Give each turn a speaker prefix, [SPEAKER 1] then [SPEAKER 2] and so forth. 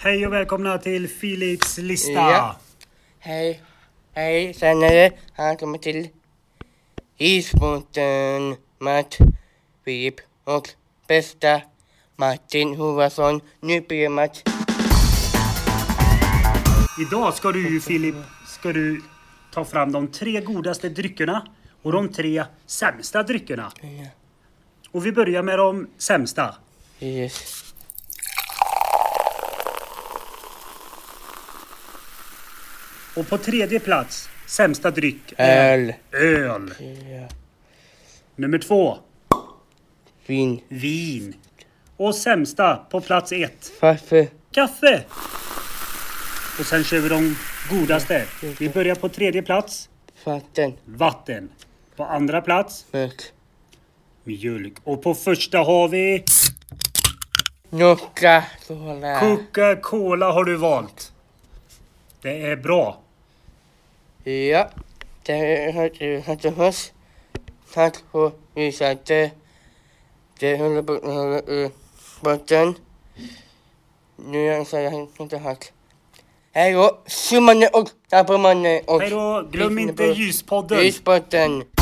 [SPEAKER 1] Hej och välkomna till Philips lista!
[SPEAKER 2] Ja. Hej. Hej, senare. Han kommer till isbåten Matt Filip och bästa Martin Hovason. Nu blir Matt.
[SPEAKER 1] Idag ska du ju Filip, ska du ta fram de tre godaste dryckerna och de tre sämsta dryckerna. Och vi börjar med de sämsta.
[SPEAKER 2] Yes.
[SPEAKER 1] Och på tredje plats, sämsta dryck, är
[SPEAKER 2] Öl.
[SPEAKER 1] öl.
[SPEAKER 2] Ja.
[SPEAKER 1] Nummer två,
[SPEAKER 2] Vin.
[SPEAKER 1] vin. Och sämsta på plats ett,
[SPEAKER 2] Varför?
[SPEAKER 1] kaffe. Och sen kör vi de godaste. Vi börjar på tredje plats,
[SPEAKER 2] Vatten.
[SPEAKER 1] vatten. På andra plats,
[SPEAKER 2] Mörk.
[SPEAKER 1] mjölk. Och på första har vi
[SPEAKER 2] Coca Cola.
[SPEAKER 1] Coca-Cola har du valt. Det är bra.
[SPEAKER 2] Ja. Det hörde du hörde först. Tack för visade. Det håller på att hålla ur botten. Nu jag säger jag inte hack. Hej då! Summanen och abonnemangen och
[SPEAKER 1] Hej då! Glöm
[SPEAKER 2] Lyssna
[SPEAKER 1] inte
[SPEAKER 2] på
[SPEAKER 1] ljuspodden.
[SPEAKER 2] Lysbotten.